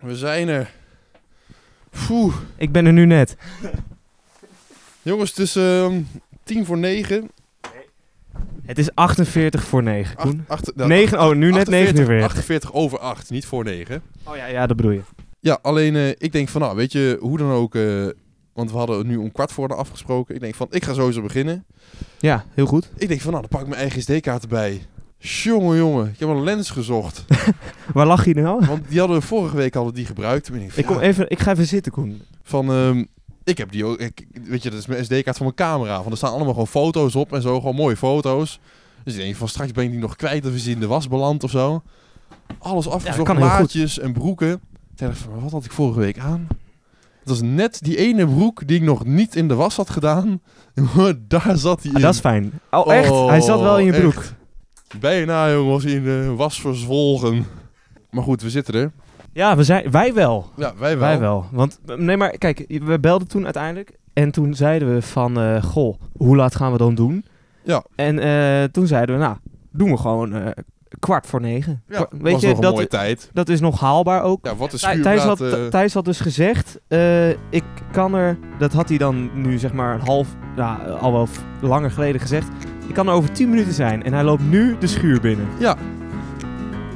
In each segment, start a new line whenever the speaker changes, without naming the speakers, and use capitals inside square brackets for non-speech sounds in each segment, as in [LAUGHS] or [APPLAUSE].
We zijn er. Poeh.
Ik ben er nu net.
Jongens, het is ehm, tien voor negen.
Het is 48 voor 9,
Acht-
Koen.
acht- nou,
9, oh, nu net 9
48
uur weer.
48 over 8, niet voor 9.
Oh ja, ja, dat bedoel je.
Ja, alleen eh, ik denk van, nou, weet je, hoe dan ook... eh, want we hadden nu om kwart voor de afgesproken. Ik denk van, ik ga sowieso beginnen.
Ja, heel goed.
Ik denk van, nou, dan pak ik mijn eigen SD-kaart erbij. Jongen, jongen, ik heb een lens
[LAUGHS]
gezocht.
Waar lag je nou?
Want die hadden we vorige week hadden we die gebruikt. Toen ben ik van,
Ik, kom
ja,
even, ik ga even zitten, Koen. Ah,
van ehm, ik heb die ook, ik, weet je, dat is mijn SD-kaart van mijn camera. Van er staan allemaal gewoon foto's op en zo, gewoon mooie foto's. Dus ik denk van straks ben ik die nog kwijt of is die in de was beland of zo. Alles afgezocht,
kan heel goed.
maatjes en broeken. Toen dacht ik van, wat had ik vorige week aan? Het was net die ene broek die ik nog niet in de was had gedaan. [LAUGHS] Daar zat hij
Ah,
in.
dat is fijn. Oh, echt? Hij zat wel in je
echt.
broek.
Bijna, jongen, was hij in de was verzwolgen. Maar goed, we zitten er.
Ja, we zijn, wij wel.
Ja, wij wel.
Wij wel. Want, nee, maar kijk, we belden toen uiteindelijk. En toen zeiden we van, eh, goh, hoe laat gaan we dan doen?
Ja.
En eh, toen zeiden we, nou, doen we gewoon eh, kwart voor negen.
Ja,
Kwa-
was nog een mooie tijd.
dat is nog haalbaar ook.
Ja, wat een
Thij- Thijs had,
schuurplaat. eh,
Thijs had dus gezegd, eh, ik kan er, dat had hij dan nu zeg maar een half, ja, al wel f- langer geleden gezegd, ik kan er over 10 minuten zijn. En hij loopt nu de schuur binnen.
Ja.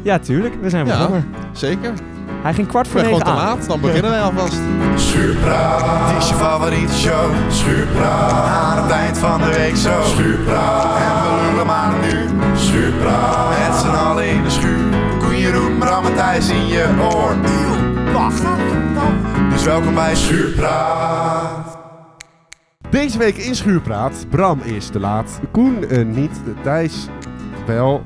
Ja, tuurlijk, we zijn
Ja.
begonnen.
Zeker. Ik
Hij ging kwart voor
ben gewoon
negen
te
aan.
laat, dan beginnen wij alvast.
Schuurpraat, het is je favoriete show. Schuurpraat, aan het eind van de week zo. Schuurpraat, en we lullen maar nu. Schuurpraat, met z'n allen in de schuur. Koen Jeroen, Bram en Thijs in je oor. Wacht. Dus welkom bij Schuurpraat.
Deze week in Schuurpraat. Bram is te laat. Koen eh, niet. Thijs
[LAUGHS]
wel.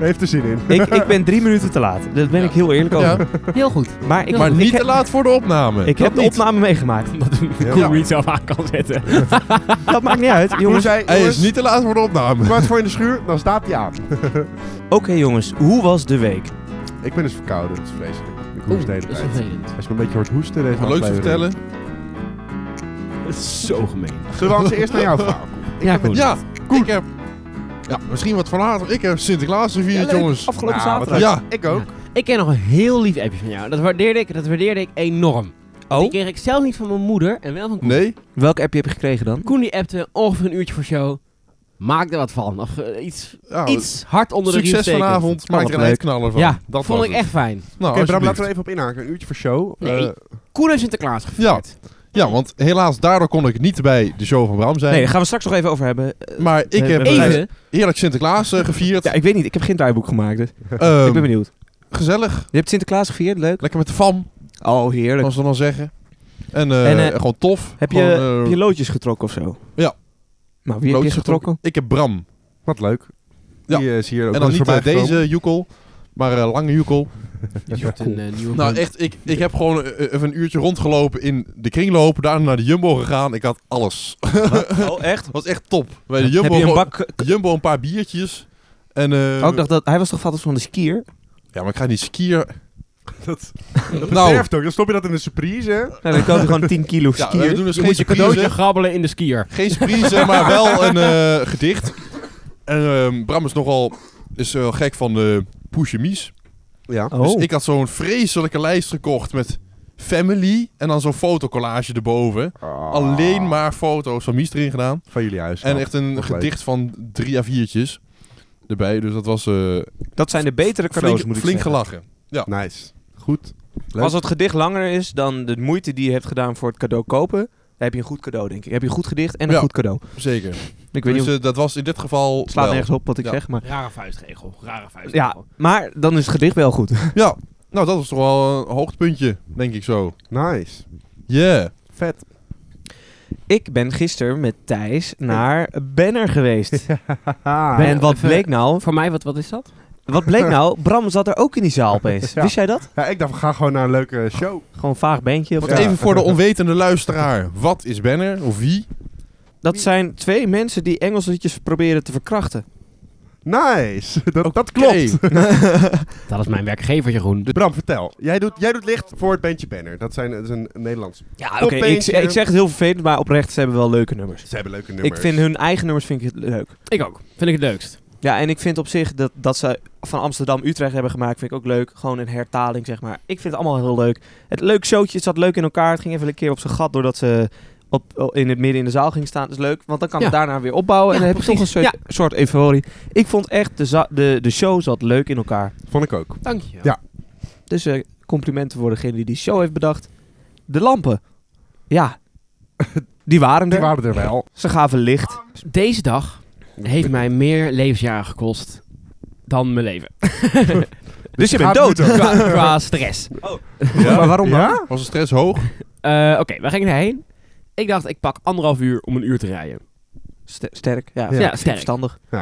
Heeft er zin in.
Ik, ik ben drie minuten te laat. Daar ben ik heel eerlijk over.
Heel goed.
Maar ik,
maar
ik
niet
heb-
te laat voor de opname.
Ik heb de
niet.
opname meegemaakt, omdat ik de
Ja.
cool read zelf aan kan zetten. dat maakt niet
[LAUGHS]
uit,
Koen
jongens.
zei,
Hij
jongens,
is niet te laat voor de opname.
kwart voor in de schuur, dan staat hij aan.
Oké jongens, hoe was de week?
Ik ben dus verkouden, dat is vreselijk. Ik hoest
Oeh,
de hele
dat is
tijd.
vervelend.
Als je me een beetje hoort hoesten deze
Wat leuk te
aflevering.
vertellen.
Zo gemeen.
Zullen we als eerst naar jou vragen?
Ja, Koen.
Ja, ik heb... Ja, misschien wat van later. Ik heb Sinterklaas gevierd, jongens.
Afgelopen
Nou, wat
zaterdag.
Ja,
Ik ook.
Ik kreeg nog een heel lief appje van jou. Dat waardeerde ik, dat waardeerde ik enorm. Die kreeg ik zelf niet van mijn moeder en wel van Koen.
nee.
Oh, Welke appje heb je gekregen dan?
Koen die appte ongeveer een uurtje voor show. Maak er wat van. Of eh, iets,
Ja,
iets hard onder de riem
Nou, dus succes
steken.
vanavond. Maak er een
leuk.
eindknaller van.
Ja,
dat
dat vond
was
ik
het.
echt fijn.
Nou,
Oké, Bram, laten
alsjeblieft.
we even op inhaken. Een uurtje voor show.
Nee.
Eh,
Koen heeft Sinterklaas gevierd.
Ja, want helaas, daardoor kon ik niet bij de show van Bram zijn.
Nee, daar gaan we straks nog even over hebben.
Maar ik
Nee,
heb
we hebben-
eh,
Even.
heerlijk Sinterklaas eh, gevierd.
Ja, ik weet niet, ik heb geen draaiboek gemaakt, dus
Ehm,
ik ben benieuwd.
Gezellig.
Je hebt Sinterklaas gevierd, leuk.
Lekker met de fam,
Oh, heerlijk.
zoals we dan zeggen. En, eh,
En, eh,
gewoon tof.
Heb je,
Gewoon, eh,
heb je loodjes getrokken of zo?
Ja.
Nou, wie heb je
Loodjes
getrokken?
Ik heb Bram.
wat leuk.
Ja.
Die eh, is hier ook
en
wel
dan
eens
niet
voorbij
eh,
gekomen.
deze joekel, maar eh, lange joekel.
Je hebt een eh, nieuwe
Nou
vriend.
echt, ik, ik heb gewoon eh, even een uurtje rondgelopen in de kringloop. Daarna naar de Jumbo gegaan. Ik had alles. [LAUGHS]
Oh, echt?
was echt top. Bij de Jumbo,
heb je een
gewoon-
bak...
Jumbo een paar biertjes. En, eh,
Oh, ik dacht dat... Hij was toch vatters van de skier?
Ja, maar ik ga niet skier.
Dat, dat
Nou.
bederft ook. Dan stop je dat in een surprise, hè?
Nou, dan koop je gewoon 10 kilo
Ja,
skier.
we doen dus
je
geen
moet je cadeautje
surprise.
grabbelen in de skier.
Geen surprise, maar wel een eh, gedicht. En ehm, Bram is nogal is, wel gek van de Mies.
Ja.
Oh.
Dus ik had zo'n vreselijke lijst gekocht met family en dan zo'n fotocollage erboven. Alleen maar foto's van Mies erin gedaan.
Ah. Van jullie huis.
En echt een
Wat leuk.
gedicht van drie à viertjes erbij. Dus dat was eh,
dat zijn de betere cadeaus,
flink,
moet ik
flink
zeggen.
gelachen.
Nice. Goed. Leuk.
Als het gedicht langer is dan de moeite die je hebt gedaan voor het cadeau kopen, dan heb je een goed cadeau, denk ik. Dan heb je een goed gedicht en een
Ja.
goed cadeau.
Zeker.
Ik weet niet,
dus
of-
eh, dat was in dit geval...
het slaat
wel.
nergens op wat ik
Ja.
zeg, maar...
Rare vuistregel. Rare
Ja,
vuistregel.
maar dan is het gedicht wel goed. [LAUGHS]
Ja, nou dat was toch wel een hoogtepuntje, denk ik zo.
Nice.
Yeah.
Vet.
Ik ben gisteren met Thijs naar Banner geweest.
Haha.
En wat
Even-
bleek nou?
Voor mij, wat, wat is dat?
Wat [LAUGHS] bleek nou? Bram zat er ook in die zaal opeens.
Ja.
Wist jij dat?
Ja, ik dacht, we gaan gewoon naar een leuke show.
Gewoon een vaag bandje. Of
Want
zo.
even voor de onwetende luisteraar. Wat is Banner? Of wie?
Dat zijn twee mensen die Engels liedjes proberen te verkrachten.
Nice. [LAUGHS] Dat, dat klopt.
Oké.
Dat is mijn werkgever, Jeroen.
Bram, vertel. Jij doet, jij doet licht voor het bandje Banner. Dat, zijn, dat is een Nederlands.
Ja, oké.
Top
ik,
bandje.
ik zeg het heel vervelend, maar oprecht, ze hebben wel leuke nummers.
Ze hebben leuke nummers.
Ik vind hun eigen nummers vind ik leuk.
Ik ook. Vind ik het leukst.
Ja, en ik vind op zich dat, dat ze van Amsterdam Utrecht hebben gemaakt, vind ik ook leuk. Gewoon een hertaling, zeg maar. Ik vind het allemaal heel leuk. Het leuk showtje het zat leuk in elkaar. Het ging even een keer op zijn gat doordat ze op, in het midden in de zaal ging staan. Dat is leuk, want dan kan het
Ja.
daarna weer opbouwen.
Ja,
en dan heb je toch een
precies.
soort, soort euforie. Ik vond echt, de, za- de, de show zat leuk in elkaar.
Vond ik ook.
Dank je.
Ja.
Dus eh, complimenten voor degene die die show heeft bedacht. De lampen. Ja, [LAUGHS] die waren er.
Die waren er wel.
Ze gaven licht.
Deze dag heeft mij meer levensjaren gekost dan mijn leven.
[LAUGHS] Dus je bent
gaat nu
dood.
dood.
Qua, qua stress.
Maar waarom dan?
[LAUGHS] Ja?
Was de stress hoog?
Eh, Oké, waar ging ik naarheen? Ik dacht, ik pak anderhalf uur om een uur te rijden.
Ste- sterk. Ja,
Ja,
ja
sterk.
verstandig.
Eh,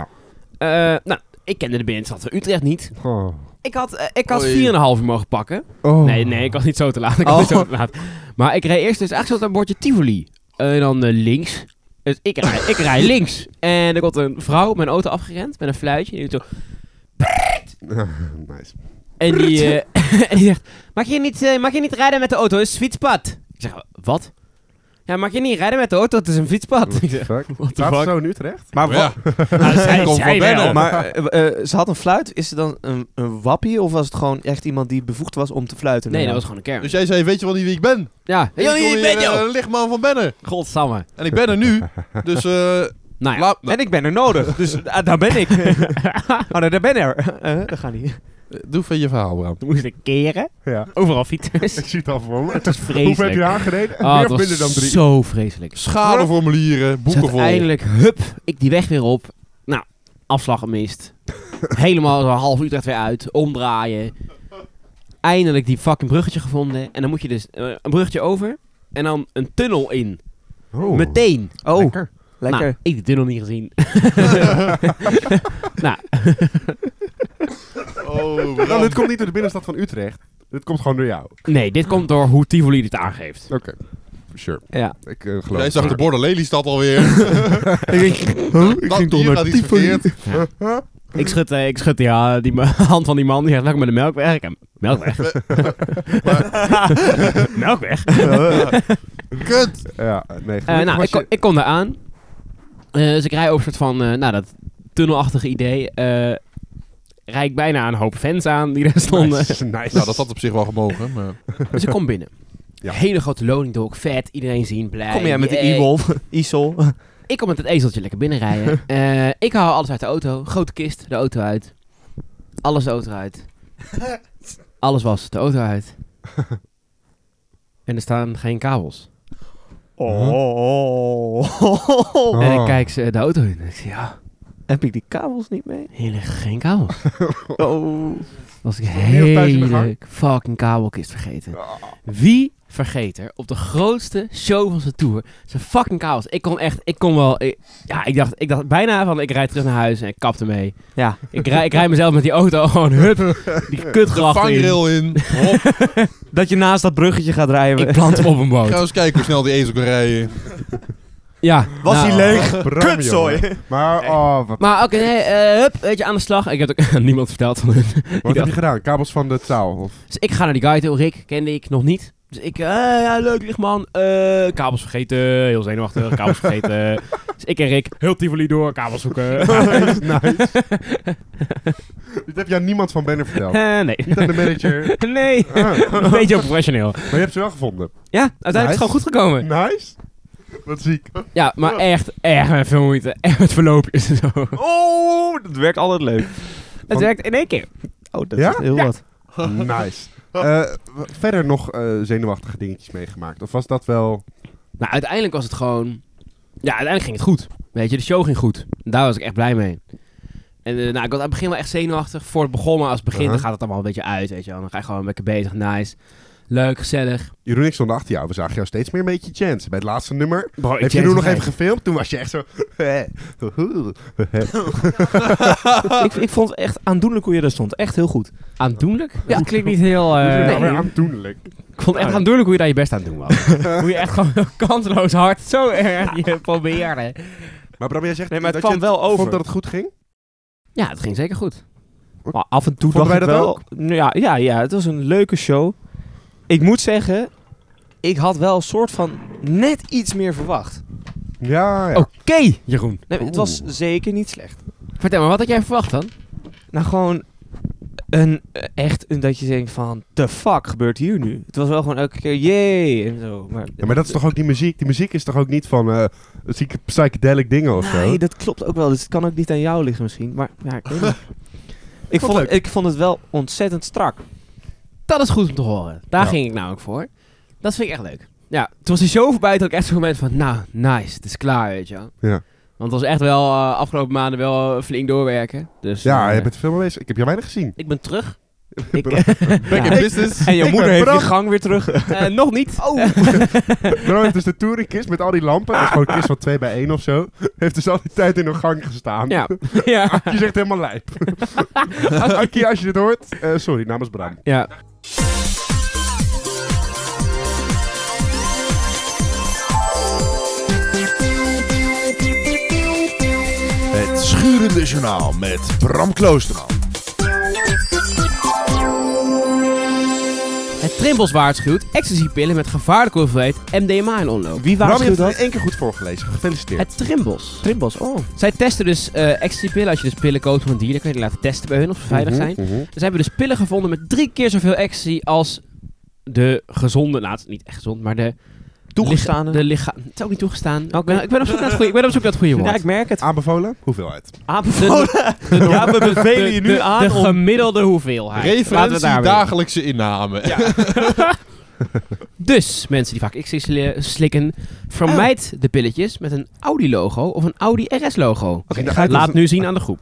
nou, ik kende de binnenstad van Utrecht niet.
Oh.
Ik had, eh, ik had
Oei.
4,5 uur mogen pakken.
Oh.
Nee, nee, ik was niet zo te laat. Ik was
Oh.
niet zo te laat. Maar ik reed eerst dus eigenlijk zo'n bordje Tivoli. En dan eh, links. Dus ik rij, ik rij links. En er komt een vrouw mijn auto afgerend met een fluitje. En die, doet zo,
[LAUGHS] nice.
en die, eh, [LAUGHS] en die zegt, mag je, niet, eh, mag je niet rijden met de auto? Het is een fietspad. Ik zeg, wat? Ja, mag je niet rijden met de auto? Het is een [LAUGHS] fietspad. Ik zeg,
Fuck.
what the
Staat
fuck?
zo in Utrecht?
Maar
Maar ja,
Nou, zij,
Kom
zij
van
wel.
binnen.
Maar eh, eh, ze had een fluit. Is het dan een, een wappie of was het gewoon echt iemand die bevoegd was om te fluiten? Oh,
Nee, dat was gewoon een kern.
dus jij zei, weet je wel niet wie ik ben?
ja,
ik wil hier, eh, lichtman van Benner.
Godsamme.
En ik ben er
[LAUGHS]
nu. Dus eh
Nou ja, eh,
laat...
En ik ben er
[LAUGHS]
nodig, dus ah, daar ben ik. oh, nee, daar ben ik er. Eh, dat gaat niet.
Doe van je verhaal, Bram.
toen moest ik keren.
Ja.
Overal fietsers.
[LAUGHS] Ik zie het al voor me.
Het was
[LAUGHS]
vreselijk.
Hoeveel heb je aangereden?
Ah,
Meer
het
of
was
minder dan drie?
zo vreselijk.
Schadeformulieren,
Dus
boeken vol.
uiteindelijk, hup, ik die weg weer op. Nou, afslag gemist. Helemaal zo'n half Utrecht weer uit. Omdraaien. Eindelijk die fucking bruggetje gevonden. En dan moet je dus eh, een bruggetje over. En dan een tunnel in.
Oh.
Meteen.
Oh, lekker.
Lekker.
Nou, ik die tunnel niet gezien. nou,
Oh,
Nou,
Bram.
dit komt niet door de binnenstad van Utrecht. Dit komt gewoon door jou. Oké.
nee, dit komt door hoe Tivoli dit aangeeft.
Sure.
Ja.
Ik eh, geloof
Jij
het
zag
maar.
de borden Lelystad alweer.
[LAUGHS] Ik
Dat
ging toch
hier
naar
gaat iets
Tivoli.
verkeerd.
Ik schud, eh, ik schud die, ja, die ma- [LAUGHS] hand van die man. Die zegt, lekker met de melkweg. Ik heb melkweg. [LAUGHS] melkweg.
Kut.
Ja, nee.
Eh, nou, ik,
gelukkig was
kom- ik kom daar aan. Eh, dus ik rij over een soort van, eh, nou, dat tunnelachtige idee. Eh rijd ik bijna een hoop fans aan die daar
je-
stonden.
Nice. nice.
Nou, dat had op zich wel gemogen. Maar...
[LAUGHS] Dus ik kom binnen.
Ja.
Hele grote loning door, vet, iedereen zien, blij.
Kom jij met de
yay.
e-wolf, [LAUGHS] isol.
Ik kom met het ezeltje lekker
[LAUGHS]
binnenrijden. Eh ik haal alles uit de auto. Grote kist, de auto uit. Alles de auto
[LAUGHS]
uit. Alles was de auto uit. En er staan geen
[LAUGHS]
kabels.
Oh.
En
Oh.
ik kijk ze de auto in. En ik zeg, ja,
Heb ik die kabels niet mee?
hier liggen geen kabels.
Oh.
Was ik een
Heel thuis in de gang.
hele fucking kabelkist vergeten. Wie vergeet er op de grootste show van zijn tour zijn fucking kabels? Ik kon echt, ik kon wel, ik- ja, ik dacht, ik dacht bijna van ik rijd terug naar huis en ik kapte mee.
Ja.
Ik rijd, ik rijd mezelf met die auto [LAUGHS] gewoon hup,
[LAUGHS]
die
De
kutgracht in.
vangrail in. Hop.
Dat je naast dat bruggetje gaat rijden.
Ik
[LAUGHS]
plant hem op een boot.
[LAUGHS]
Ga eens kijken hoe snel die ezel kan rijden.
Ja. nou.
Bram, jongen.
Kutzooi.
Maar, oh, wat,
Maar oké, nee, eh, hup, weet je, aan de slag. Ik heb het ook [LAUGHS] aan niemand verteld van hun.
wat heb je gedaan? Kabels van de taal? Of?
Dus ik ga naar die guy toe. Rick kende ik nog niet. Dus ik, eh, ja, leuk lichtman. Eh, kabels vergeten. Heel zenuwachtig. Kabels [LAUGHS] vergeten. dus ik en Rick, heel Tivoli door. Kabels [LAUGHS] zoeken.
nice,
[LAUGHS]
[LAUGHS] nice. Dit heb je aan niemand van Banner [LAUGHS] verteld.
Eh, nee. [LAUGHS]
Niet aan de manager.
Nee.
Ah,
Een [LAUGHS] beetje onprofessioneel.
maar je hebt ze wel gevonden.
Ja, uiteindelijk is het gewoon goed gekomen.
Nice. Wat ziek.
Ja, maar echt, echt met veel moeite. [LAUGHS] Echt met verloopjes en zo.
Oh, dat werkt altijd leuk.
Het werkt in één keer.
Oh, dat
Ja?
is heel wat.
Nice. Eh, w- verder nog eh, zenuwachtige dingetjes meegemaakt? Of was dat wel...
Nou, uiteindelijk was het gewoon... Ja, uiteindelijk ging het goed. Weet je, de show ging goed. Daar was ik echt blij mee. En eh, nou, ik was aan het begin wel echt zenuwachtig voor het begon. Maar als het begint,
Uh-huh.
dan gaat het allemaal een beetje uit, weet je wel. Dan ga je gewoon lekker bezig, nice. Leuk, gezellig.
Jeroen en ik stonden achter jou. We zagen jou steeds meer een beetje chance. Bij het laatste nummer.
Bro,
heb je Jeroen nog even gefilmd? Toen was je echt zo... [LAUGHS] Eh,
Eh, ik, ik vond het echt aandoenlijk hoe je daar stond. Echt heel goed.
Aandoenlijk? Ja, dat klinkt niet heel... eh,
Nou,
[LAUGHS] nee.
weer aandoenlijk.
Ik vond het echt aandoenlijk hoe je daar je best aan doen
[LAUGHS]
was. hoe je echt gewoon kansloos hard zo [LAUGHS] erg je probeerde.
Maar Bram, jij zegt
Nee, maar het
dat je
kwam wel over.
vond dat het goed ging?
Ja, het ging zeker goed.
Maar af en toe
Vonden
dacht
wij
ik
dat
wel... Nou Ja, ja, ja, het was een leuke show. Ik moet zeggen, ik had wel een soort van net iets meer verwacht.
Ja, ja.
Oké, Jeroen.
Nee, het was zeker niet slecht.
Vertel maar, wat had jij verwacht dan?
Nou, gewoon een, eh, echt een, dat je denkt van, the fuck gebeurt hier nu? Het was wel gewoon elke keer, jee, en zo. Maar,
Ja, maar dat is toch ook die muziek? Die muziek is toch ook niet van eh, zieke psychedelic dingen of zo?
Nee, dat klopt ook wel. Dus het kan ook niet aan jou liggen misschien. Maar ja, ik
[LAUGHS]
weet niet. ik,
Wat
vond,
leuk.
ik vond het wel ontzettend
[LAUGHS]
strak. [LAUGHS]
Dat is goed om te horen. Daar
Ja.
ging ik namelijk voor. Dat vind ik echt leuk. Ja, toen was hij zo voorbij dat ik echt zo'n moment van, nou, nice, het is klaar, weet je wel.
Ja.
Want het was echt wel eh, afgelopen maanden wel eh, flink doorwerken. Dus,
Ja,
eh,
je bent veel mee bezig. Ik heb jou weinig gezien.
Ik ben terug.
Ik,
Back
Ja.
in business.
En jouw
Ik
moeder
ben
heeft die
Bram.
gang weer terug.
Eh, nog niet. Oh.
Bro heeft dus de touringkist met al die lampen. Dat is gewoon een kist van 2 bij 1 of zo. Heeft dus al die tijd in een gang gestaan.
ja. [LAUGHS] ja.
Je zegt helemaal lijp. Akkie, als je dit hoort. eh, sorry, namens Bram.
Ja.
Het schurende journaal met Bram Kloosterman.
Het Trimbos waarschuwt ecstasypillen met gevaarlijke hoeveelheid MDMA in omloop.
Wie
Bram je
waarschuwt
hebt
dat?
het één keer goed voorgelezen. Gefeliciteerd.
Het Trimbos.
Trimbos, oh.
Zij testen dus eh ecstasypillen. Als je dus pillen koopt van een dealer, kan je die laten testen bij hun of ze veilig zijn.
Mhm, mhm.
Dus ze hebben dus pillen gevonden met drie keer zoveel ecstasy als de gezonde, nou het is niet echt gezond, maar de
Toegestane.
licha- de licha- het is ook niet toegestaan.
Oké.
Oh, Ik, ben, ik ben op zoek naar het goede, ik ben op zoek naar het goede
Ja,
woord.
ik merk het.
Aanbevolen? Hoeveelheid?
Aanbevolen.
Ja, we bevelen je
de,
nu
de-
aan
De
om-
gemiddelde hoeveelheid. Laten we
Referentie
het daar weer-
dagelijkse inname.
Dus, mensen die vaak ecstasy slikken, vermijd de pilletjes met een Audi-logo of een Audi RS-logo.
Oké, dan ga ik
Laat
dus-
nu zien aan de groep.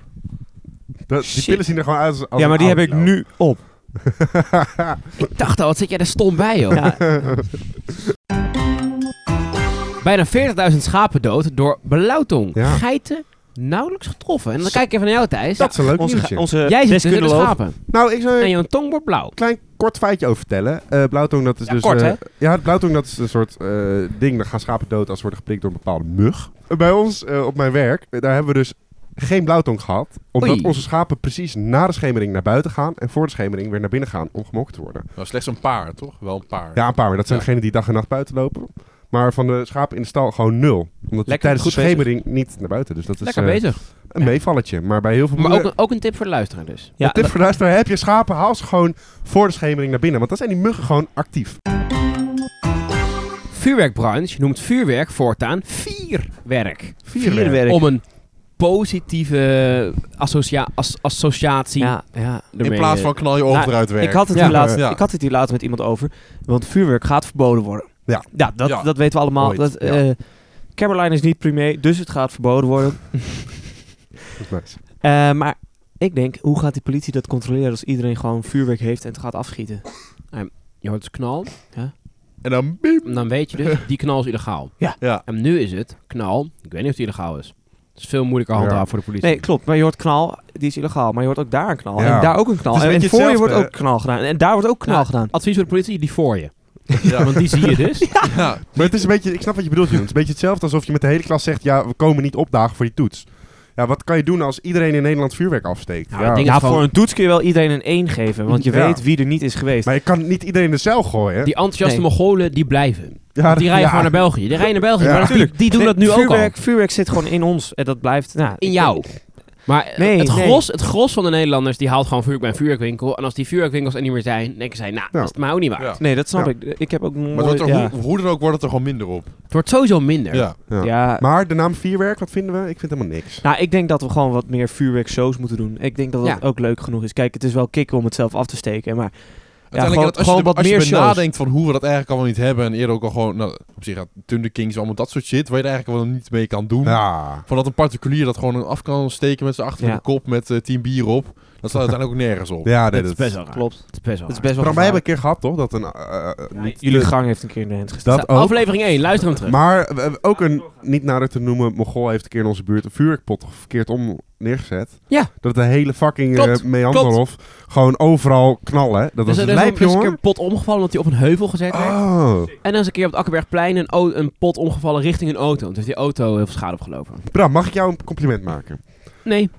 Dat, die
Shit.
pillen zien er gewoon uit als, als
Ja, maar die
een
heb ik
oude
nu op.
Ik dacht al, wat zit jij er stom bij, joh.
Ja.
[LAUGHS] Bijna 40.000 schapen dood door blauwtong.
Ja.
Geiten nauwelijks getroffen. En dan kijk ik even naar jou, Thijs.
Dat is eh, een leuk
Onze,
nieuwtje.
onze
jij zit tussen de
deskundeloog.
schapen.
Nou, ik zou
En
je
jouw tong wordt blauw.
een klein kort feitje over vertellen. Eh, blauwtong, dat is
Ja,
dus...
kort,
eh,
hè?
Ja, blauwtong, dat is een soort eh, ding. Dan gaan schapen dood als ze worden geprikt door een bepaalde mug. Bij ons, eh, op mijn werk, eh, daar hebben we dus geen blauwtong gehad. Omdat
Oei.
onze schapen precies na de schemering naar buiten gaan... en voor de schemering weer naar binnen gaan om gemolken te worden.
[LAUGHS] Nou, slechts een paar, toch? Wel een paar.
Ja, een paar. Maar dat zijn
Ja.
degenen die dag en nacht buiten lopen. Maar van de schapen in de stal gewoon nul. Omdat die
Lekker,
tijdens de
goed bezig.
schemering niet naar buiten. Dus dat is
Lekker
eh,
bezig.
een meevalletje. Maar bij heel veel
Maar
moeder-
ook, een- ook een tip voor de luisteraar dus.
Ja,
Tip voor de luisteraar, heb je schapen, haal ze gewoon voor de schemering naar binnen. Want dan zijn die muggen gewoon actief.
Vuurwerkbranche noemt vuurwerk voortaan vierwerk.
vierwerk.
Om een positieve associa- as- associatie eh,
Ja, ja.
In plaats van knal je ogen
Nou,
eruit werken.
Ik had, het
Ja.
hier laatst,
Ja.
ik had het hier laatst met iemand over. Want vuurwerk gaat verboden worden.
Ja.
Ja, dat,
Ja.
dat weten we allemaal.
Ooit,
Dat,
ja.
eh, Caroline is niet premier, dus het gaat verboden worden.
Dat is nice.
Eh, maar ik denk, hoe gaat die politie dat controleren als iedereen gewoon vuurwerk heeft en het gaat afschieten?
Je hoort dus knal.
En dan biep.
En dan weet je [LAUGHS] dus, die knal is illegaal.
Ja.
En nu is het knal. Ik weet niet of die illegaal is. Het is veel moeilijker
Ja.
handhaven voor de politie.
Nee, klopt. Maar je hoort knal, die is illegaal. Maar je hoort ook daar een knal.
Ja.
En daar ook een knal.
Het is
En,
een
en
beetje
voor je wordt ook
hetzelfde.
knal gedaan. En daar wordt ook knal
Nou,
gedaan.
Advies voor de politie, die voor je.
Ja.
Want die zie je dus.
Ja.
Maar het is een beetje, ik snap wat je bedoelt, Jeroen. Het is een beetje hetzelfde alsof je met de hele klas zegt, ja, we komen niet opdagen voor die toets. Ja, wat kan je doen als iedereen in Nederland vuurwerk afsteekt?
Nou,
Ja.
ik denk-
Ja,
het gewoon-
voor een toets kun je wel iedereen een 1 geven. Want je
Ja.
weet wie er niet is geweest.
Maar je kan niet iedereen in de cel gooien.
Die enthousiaste
Nee.
Mongolen, die blijven.
ja,
Die rijden
ja.
gewoon naar België. Die rijden naar België.
Ja.
maar dat- die, die doen
Nee,
dat nu ook al.
vuurwerk, Vuurwerk zit gewoon in ons. En dat blijft... Nou,
In
ik-
jou. Maar eh,
Nee,
het,
nee.
gros, het gros van de Nederlanders die haalt gewoon vuurwerk bij een vuurwerkwinkel. En als die vuurwerkwinkels er niet meer zijn, denken zij, nou,
Ja.
dat is het maar ook niet waar.
Ja.
Nee, dat snap
Ja.
ik. Ik heb ook
Maar het
nooit...
wordt er,
Ja.
hoe, hoe dan ook wordt het er gewoon minder op.
Het wordt sowieso minder.
Ja.
Ja.
ja.
Maar de naam vierwerk, wat vinden we? Ik vind helemaal niks.
Nou, ik denk dat we gewoon wat meer vuurwerkshows moeten doen. Ik denk dat dat
Ja. ook
ook leuk genoeg is. Kijk, het is wel kicken om het zelf af te steken, maar...
Uiteindelijk,
gewoon-
dat als
gewoon
je, er-
wat
als je
meer
erbij
shows.
nadenkt van hoe we dat eigenlijk allemaal niet hebben. En eerder ook al gewoon, nou, op zich, ja, Thunder Kings, allemaal dat soort shit. Waar je er eigenlijk wel niet mee kan doen.
Ja.
Van dat een particulier dat gewoon af kan steken met zijn achter
Ja.
de kop met eh, tien bier op. Dat staat uiteindelijk ook nergens op.
Ja,
dat
nee,
is
dat
best wel raar.
Klopt.
Het is best wel
Het is
raar.
best wel
Maar wij hebben
gevaarlijk.
een keer gehad, toch? Dat een... eh, eh, niet-
Jullie gang heeft een keer in de hand gestaan.
dat
Nou,
ook.
Aflevering 1, luister hem terug.
Maar eh, we hebben ook een niet nader te noemen Mogol heeft een keer in onze buurt een vuurwerkpot verkeerd om neergezet.
Ja.
Dat de hele fucking
Klopt,
eh, Meanderhof gewoon overal knallen. Dat
Dus
was
er
een
is
lijp,
een- is een keer
jongen.
een pot omgevallen omdat hij op een heuvel gezet werd.
Oh,
En dan is een keer op het Akkerbergplein een, o- een pot omgevallen richting een auto. En toen heeft die auto heel veel schade opgelopen. Eh,
Bram, mag ik jou een compliment maken?
Nee,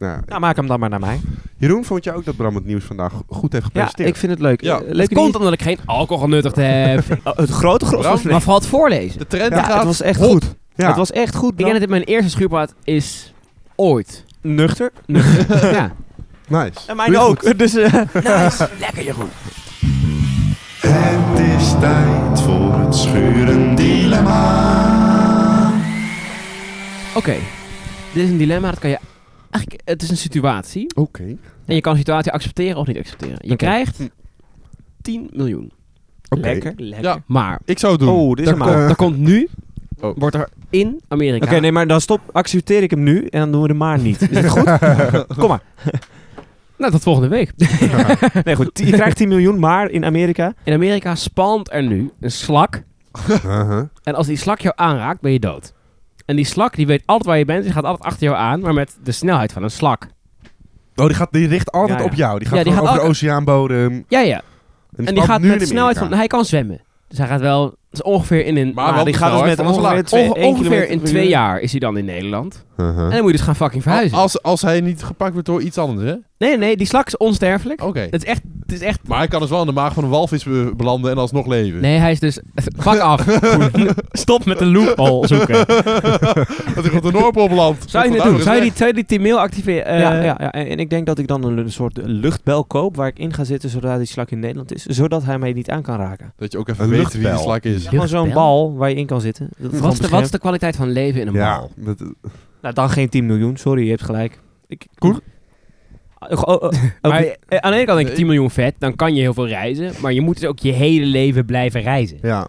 Nou,
Nou, maak hem dan maar naar mij.
Jeroen, vond je ook dat Bram het nieuws vandaag goed heeft
Ja,
gepresenteerd?
ik vind het leuk.
Ja.
Eh,
het
leuk
komt omdat ik geen alcohol genuttigd heb. [LAUGHS]
Oh, het grote gros
Bram,
was
maar vooral het voorlezen.
De trend
Ja,
gaat
het was echt
hop.
goed.
Ja.
Het was echt goed,
Ik denk
Bram.
dat dit mijn eerste schuurplaat is ooit. [LAUGHS]
Nuchter.
ja.
Nice.
En
Doe
mijn
je
ook. [LAUGHS]
goed.
Dus eh,
Het is tijd voor het schuren dilemma.
Oké. Dit is een dilemma. Dat kan je eigenlijk, het is een situatie.
Oké.
En je kan de situatie accepteren of niet accepteren. Je krijgt 10 miljoen.
Oké.
Lekker, lekker.
Ja.
Maar
Ik zou het doen.
oh, dit is
er
een
komt,
maat.
eh,
er komt nu,
Oh.
wordt er in Amerika.
Oké, nee, maar dan stop. Accepteer ik hem nu en dan doen we de maar niet. Is dat goed?
[LAUGHS]
Kom maar.
Nou, tot volgende week.
Nee, goed. Je krijgt 10 miljoen, maar in Amerika.
In Amerika spant er nu een
[LAUGHS]
slak.
Uh-huh.
En als die slak jou aanraakt, ben je dood. En die slak die weet altijd waar je bent. Die gaat altijd achter jou aan, maar met de snelheid van een slak.
Oh, die, gaat, die richt altijd
Ja, ja.
op jou. Die gaat
Ja, die
gewoon
gaat
over de
ook-
oceaanbodem. En
Ja, ja.
die,
En die
stapt
gaat
nu
met
in
de snelheid van...
Amerika.
Hij kan zwemmen. Dus hij gaat wel... Dat is ongeveer in een... nou,
Maar wel
die
de
gaat dus
snelheid
met
van een
ongeveer
slak.
twee-
onge-
één
ongeveer
kilometer
in
per
twee
uur.
jaar is hij dan in Nederland.
Uh-huh.
En dan moet je dus gaan fucking verhuizen.
Als, als hij niet gepakt wordt door iets anders, hè? Oké.
Nee, nee, die slak is
Oh.
onsterfelijk. Het is echt... Het is echt
Maar hij kan dus wel in de maag van een walvis be- belanden en alsnog leven. [LAUGHS]
Nee, hij is dus... Pak
[LAUGHS]
af. Stop met de loophole zoeken.
Dat hij op de Noordpool belandt.
Zou je
Dat
het
wordt
doen? Zou
ouder
je die, zou je die team mail activeren? Eh,
ja, ja, ja, en en ik denk dat ik dan een, een soort luchtbel koop waar ik in ga zitten zodra die slak in Nederland is, zodat hij mij niet aan kan raken.
gezegd. Dat je ook even
Een
weet wie die
luchtbel.
slak is.
Gewoon zo'n
Luchtbel?
bal waar je in kan zitten. Dat
Wat
gewoon
is, de, wat is
beschermt.
de kwaliteit van leven in een
Ja,
bal?
dat,
Nou, dan geen 10 miljoen, sorry, je hebt gelijk. Ik,
Koen?
Oh, oh, oh, ook-
[LAUGHS] Maar, eh, aan de ene kant denk je 10 miljoen vet, dan kan je heel veel reizen. Maar je moet dus ook je hele leven blijven reizen.
ja.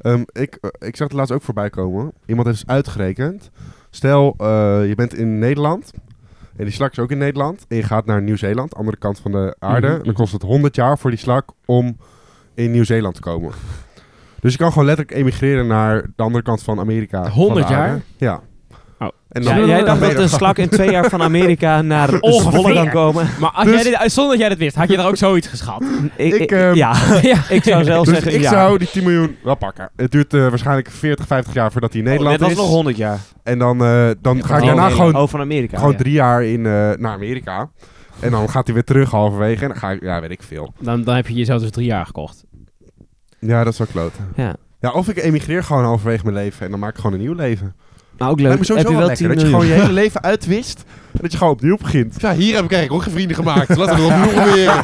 Ehm, ik, eh, ik zag het laatst ook voorbij komen. Iemand heeft eens uitgerekend. Stel, eh, je bent in Nederland. En die slak is ook in Nederland. En je gaat naar Nieuw-Zeeland, andere kant van de aarde.
Mhm, mhm.
Dan kost het 100 jaar voor die slak om in Nieuw-Zeeland te komen. Dus je kan gewoon letterlijk emigreren naar de andere kant van Amerika. van de
100 jaar?
aarde. Ja.
Oh.
En
Ja, jij dacht dat een slak in twee jaar van Amerika
[LAUGHS]
naar
Ongeveer.
Zwolle kan komen.
Maar als
Dus-
jij dit, eh, zonder dat jij dat wist, had je daar ook zoiets geschat.
Ik,
Ik, ehm, [LAUGHS]
ja,
[LAUGHS] ja. [LAUGHS]
ik zou zelf
Dus
zeggen
ik
ja.
zou die 10 miljoen wel pakken. Het duurt eh, waarschijnlijk 40, 50 jaar voordat hij in Nederland
dat
is.
is Oh, nog 100 jaar.
En dan, eh, dan ga ik daarna
gewoon Nederland.
gewoon,
Oh, van Amerika.
gewoon
ja.
drie jaar in, eh, naar Amerika. En dan gaat hij weer terug halverwege. En dan ga ik, ja, weet ik veel.
Dan, dan heb je jezelf dus drie jaar gekocht.
Ja, dat is wel kloot.
Ja.
Ja, of ik emigreer gewoon halverwege mijn leven. En dan maak ik gewoon een nieuw leven.
Maar Nou, ook
Lijkt
leuk.
me
Heb
sowieso
je
wel
wel
lekker.
10
Dat je
miljoen?
gewoon je hele leven uitwist. En dat je gewoon opnieuw [LAUGHS] begint.
Ja, hier heb ik eigenlijk ook geen vrienden gemaakt. Laten we het opnieuw proberen.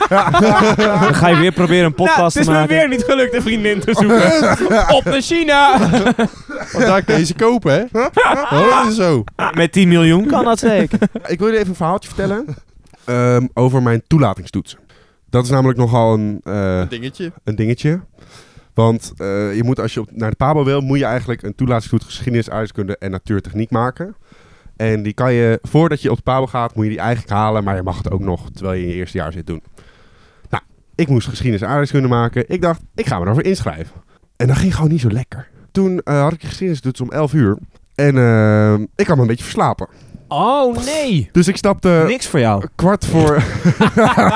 [LAUGHS] Dan ga je weer proberen een
Nou,
podcast te maken.
niet gelukt een vriendin te zoeken. Op naar China!
Want daar kun je ze kopen, hè? Oh, dat is zo.
Met 10 miljoen kan dat [LAUGHS] zeker.
Ik wil jullie even een verhaaltje vertellen. ehm, over mijn toelatingstoets. Dat is namelijk nogal een... eh,
Een dingetje.
een dingetje. Want eh, je moet als je op, naar de Pabo wil, moet je eigenlijk een toelatingsgoed geschiedenis, aardrijkskunde en natuurtechniek maken. En die kan je, voordat je op de Pabo gaat, moet je die eigenlijk halen, maar je mag het ook nog terwijl je in je eerste jaar zit doen. Nou, ik moest geschiedenis en aardrijkskunde maken. Ik dacht, ik ga me daarvoor inschrijven. En dat ging gewoon niet zo lekker. Toen eh, had ik geschiedenis toets om 11 uur. En eh, ik had me een beetje verslapen.
Oh nee!
Dus ik stapte
Niks voor
[LAUGHS]
jou.
kwart voor...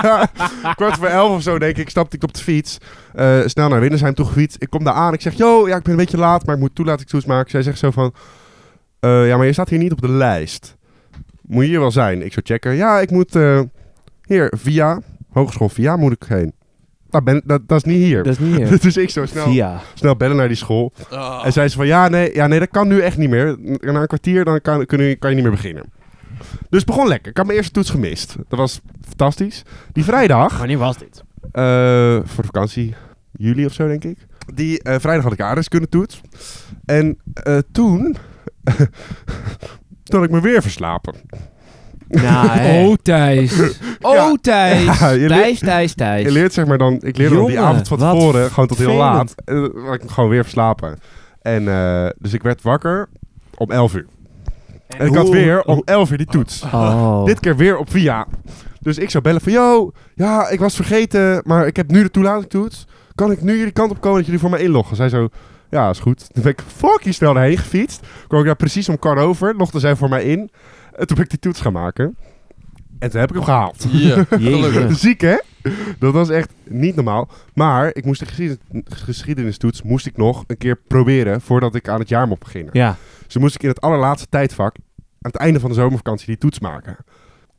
[LAUGHS] kwart voor elf of zo, denk ik, stapte ik op de fiets. eh, snel naar Windersheim toe gefietst. Ik kom daar aan. Ik zeg, yo, ja, ik ben een beetje laat, maar ik moet toelatingstoets maken. Zij zegt zo van... eh, ja, maar je staat hier niet op de lijst. Moet je hier wel zijn? Ik zou checken. Ja, ik moet... eh, hier, via. Hogeschool via moet ik heen. Dat, ben, dat, dat is niet hier.
Dat is niet
[LAUGHS]
hier.
Dus ik zo snel,
Via.
snel bellen naar die school.
Ah.
Oh.
En zei ze van, ja nee, ja, nee, dat kan nu echt niet meer. Na een kwartier dan kan, kun je, kan je niet meer beginnen. Dus het begon lekker. Ik had mijn eerste toets gemist. Dat was fantastisch. Die vrijdag,
Wanneer was dit?
eh, voor de vakantie, juli of zo denk ik. Die eh, vrijdag had ik aardrijkskunde toets. En eh, toen, [LAUGHS] toen had ik me weer verslapen.
Nou, hè.
Oh Thijs! Oh
Ja.
Thijs!
Ja, je leert-
Thijs, Thijs, Thijs.
Je leert zeg maar dan, ik leerde dan die
Jongen,
avond van
wat
tevoren gewoon tot heel
vervelend.
laat. En dan had ik me gewoon weer verslapen. En eh, dus ik werd wakker om 11 uur. En, ik had
hoe-
weer om 11 uur die toets.
Oh.
[LAUGHS] Dit keer weer op via. Dus ik zou bellen van, yo, ja, ik was vergeten, maar ik heb nu de toelatingtoets. Kan ik nu jullie kant op komen dat jullie voor mij inloggen? Zij zo, ja, is goed. Toen ben ik fucking snel daarheen gefietst. Kwam ik daar precies om kwart over, logden zij voor mij in. En toen ben ik die toets gaan maken. En toen heb ik hem gehaald.
Hier. Gelukkig.
[LAUGHS] Ziek, hè? Dat was echt niet normaal. Maar ik moest de geschiedenis- geschiedenistoets moest ik nog een keer proberen voordat ik aan het jaar mocht beginnen.
Ja.
Dus toen moest ik in het allerlaatste tijdvak, aan het einde van de zomervakantie, die toets maken.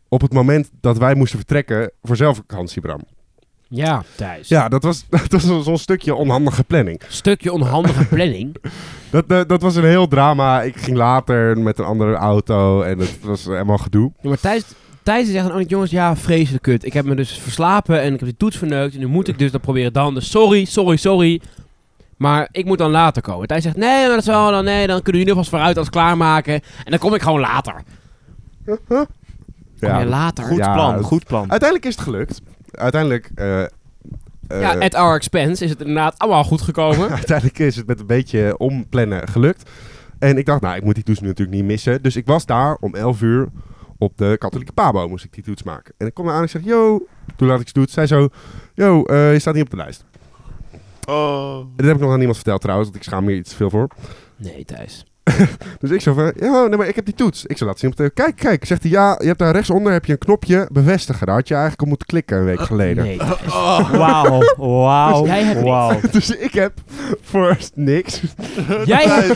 Op het moment dat wij moesten vertrekken voor zelfvakantie, Bram.
Ja, Thijs.
[LAUGHS] Ja, dat was, dat was zo'n stukje onhandige planning.
Stukje onhandige planning.
Dat, eh, dat was een heel drama. Ik ging later met een andere auto en het was helemaal gedoe.
Ja, maar Thijs, Thijs zegt dan ook niet, jongens, ja, vreselijk kut. Ik heb me dus verslapen en ik heb die toets verneukt. En nu moet ik dus dan proberen dan. Dus sorry, sorry, sorry. Maar ik moet dan later komen. Thijs zegt, nee, maar dat is wel, dan, nee, dan kunnen jullie vast vooruit als klaarmaken. En dan kom ik gewoon later. Kom je later?
Goed
Ja,
plan,
dat-
goed plan.
Uiteindelijk is het gelukt. Uiteindelijk... eh, eh,
ja, at our expense is het inderdaad allemaal goed
[LAUGHS]
gekomen.
uiteindelijk is het met een beetje omplannen gelukt. En ik dacht, nou, ik moet die toets nu natuurlijk niet missen. Dus ik was daar om 11 uur op de katholieke pabo, moest ik die toets maken. En ik kom aan en ik zeg, yo, toen laat ik ze toets. Zij zo, yo, eh, je staat niet op de lijst.
Oh.
En dat heb ik nog aan niemand verteld trouwens, want ik schaam me hier iets te veel voor.
Nee, Thijs.
Dus ik zo van, ja, nee, maar ik heb die toets. Ik zou laten zien op de... Kijk, kijk, zegt hij, ja, je hebt daar rechtsonder heb je een knopje bevestigen. Daar had je eigenlijk op moeten klikken een week geleden.
Oh, Nee,
[LAUGHS]
Thijs.
Wauw, wauw,
Dus jij hebt
wauw.
[LAUGHS] Dus ik heb voor niks. [LAUGHS]
Jij [LAUGHS]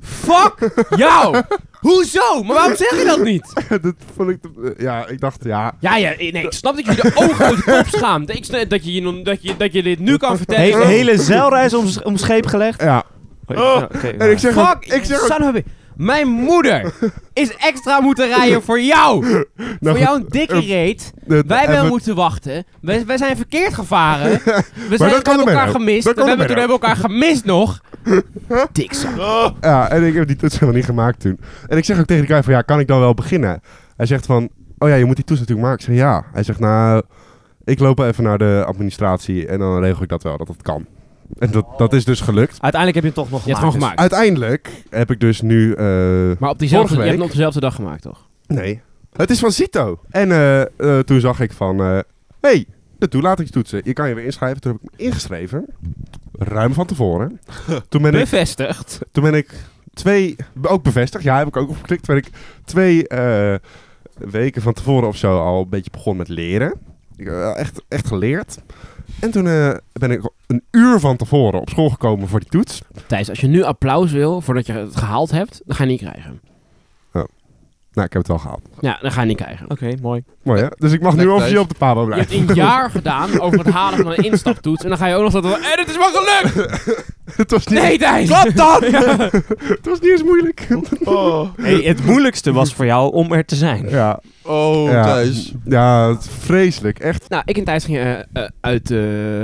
Fuck jou! Hoezo? Maar waarom zeg je dat niet?
dat vond ik... te- eh, Ja, ik dacht, ja,
Ja, ja, nee, ik snap dat je de ogen uit je kop schaamt. Ik snap dat je, je, nog- dat je, dat je dit nu kan vertellen.
He- hele zeilreis om, om scheep gelegd.
ja.
Ja, oké,
Oh, En ik
nou.
zeg, ook,
Fuck,
ik zeg ook,
son of a- Mijn
[LAUGHS]
moeder is extra moeten rijden voor jou.
Nou
voor jou een dikke
eh,
reet.
de-
Wij
en
hebben
we-
moeten wachten. Wij, wij zijn verkeerd
[LAUGHS]
gevaren. We, zijn,
kan
we
er
hebben
mee
elkaar
ook.
gemist.
Dat kan
we
er
hebben, toen
mee
hebben we elkaar gemist
[LAUGHS]
nog. Dikzak.
Ja, en ik heb die toets helemaal niet gemaakt toen. En ik zeg ook tegen die guy van, ja, kan ik dan wel beginnen? Hij zegt van, oh ja, je moet die toets natuurlijk maken. Ik zeg, ja. Hij zegt, nou, ik loop even naar de administratie en dan regel ik dat wel, dat dat kan. En dat, dat is dus gelukt.
Uiteindelijk heb je het toch nog
Je hebt
gemaakt.
het
dus-
gewoon gemaakt.
Uiteindelijk heb ik dus nu... eh,
Maar op
Vorige
diezelfde, je
week.
hebt het op dezelfde dag gemaakt, toch?
Nee. Het is van Zito. En eh, eh, toen zag ik van... eh hey, de toelatingstoetsen. Je kan je weer inschrijven. Toen heb ik me ingeschreven. Ruim van
[LAUGHS]
tevoren. Toen ben ik,
Bevestigd.
toen ben ik twee... Ook bevestigd. Ja, heb ik ook opgeklikt. Toen ben ik twee eh, weken van tevoren of zo al een beetje begonnen met leren. Ik, eh, echt, echt geleerd. En toen eh, ben ik een uur van tevoren op school gekomen voor die toets.
Thijs, als je nu applaus wil voordat je het gehaald hebt, dan ga je niet krijgen.
Nou, ik heb het wel gehaald.
Ja, dan ga je niet krijgen.
Oké, mooi.
Mooi hè? Dus ik mag nu
Lekker,
officieel
Thijs.
op de pabo
Je hebt
blijven.
een jaar gedaan over het halen van een instaptoets. En dan ga je ook nog dat... En het is wel gelukt!
het, was niet,
Nee, Thijs! Klopt [LAUGHS] dan!
het was niet eens moeilijk.
Oh.
Hey, het moeilijkste was voor jou om er te zijn.
ja.
Oh, Thijs.
Ja, het is vreselijk. Echt.
Nou, ik en Thijs gingen eh, eh, uit eh,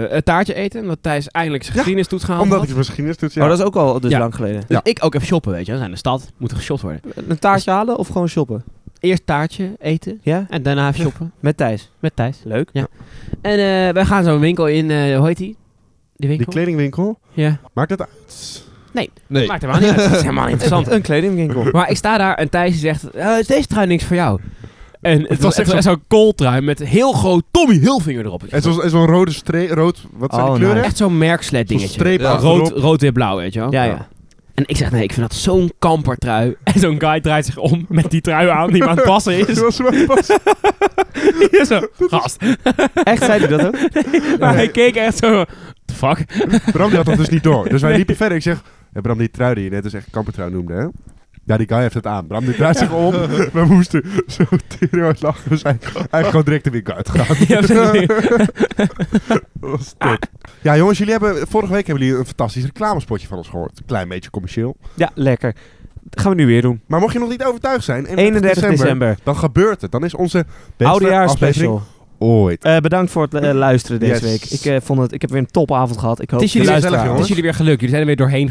het taartje eten. Omdat Thijs eindelijk zijn geschiedenistoets gehaald
Omdat
had.
ik het misschien eens toets. Ja.
Maar dat is ook al dus
Ja.
lang geleden.
Dus ik ook even shoppen, weet je. We zijn in de stad, moeten geshopt worden.
Een taartje halen of gewoon shoppen?
Eerst taartje eten
Ja?
en daarna even shoppen
Met Thijs.
met Thijs.
Leuk.
En eh, wij gaan zo'n winkel in, eh, hoe heet die? Die
Die
winkel?
kledingwinkel,
ja.
maakt dat uit?
Nee.
Maakt [LAUGHS] helemaal niet uit. Dat is helemaal niet interessant.
Een kledingwinkel.
Maar ik sta daar en Thijs zegt, eh, is deze trui niks voor jou? En het was
echt
echt zo- zo'n kooltrui met een heel groot Tommy Hilfinger erop.
En zo'n en zo'n rode streep, rood, wat zijn
Oh,
die kleuren?
nice.
nou, Echt zo'n merkslet
Zo'n
dingetje.
streep
Ja,
achterop.
Rood,
[LAUGHS]
rood, wit, blauw, weet je wel.
Ja, ja.
En ik zeg, nee, ik vind dat zo'n kampertrui. [LAUGHS] En zo'n guy draait zich om met die trui aan die maar aan het passen [LAUGHS]
Dat
is.
was wel pas.
Hier zo, gast.
Echt, zei hij dat ook?
Maar hij keek echt zo, the fuck?
Bram die had dat dus niet door. Dus wij liepen verder. Ik zeg, ja, Bram die trui die je net dus echt kampertrui noemde, hè? Ja, die guy heeft het aan. Bram die draait zich
[LAUGHS]
om. We moesten zo tering uit lachen. We zijn eigenlijk gewoon direct de winkel
[LAUGHS]
uitgegaan.
Ja, precies.
[LAUGHS] Dat was top. Ja, jongens, jullie hebben, vorige week hebben jullie een fantastisch reclamespotje van ons gehoord. Een klein beetje commercieel.
[LAUGHS] Ja, lekker. Dat gaan we nu weer doen.
Maar mocht je nog niet overtuigd zijn,
31 december.
dan gebeurt het. Dan is onze beste aflevering
Oudejaarsspecial.
ooit.
Eh bedankt voor het eh, luisteren deze
Yes.
week. Ik, eh, vond het, ik heb weer een topavond gehad. Ik hoop
Het is jullie
de
gezellig,
luisteraars.
Het is jullie weer gelukt. Jullie zijn er weer doorheen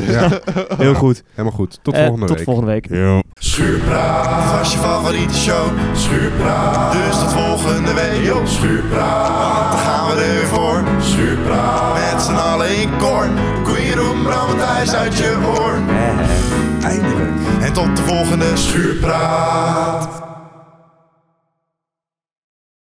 [LAUGHS]
Ja,
Heel goed.
helemaal goed. Tot
Eh,
volgende
tot
week.
volgende week.
Ja.
Schuurpraat, dit was je favoriete show. Schuurpraat, dus tot volgende week. Yo, schuurpraat, want dan gaan we er weer voor. Schuurpraat, met z'n allen in koor. Kun je doen, Bram en Thijs uit je oor. Eindelijk. En tot de volgende Schuurpraat.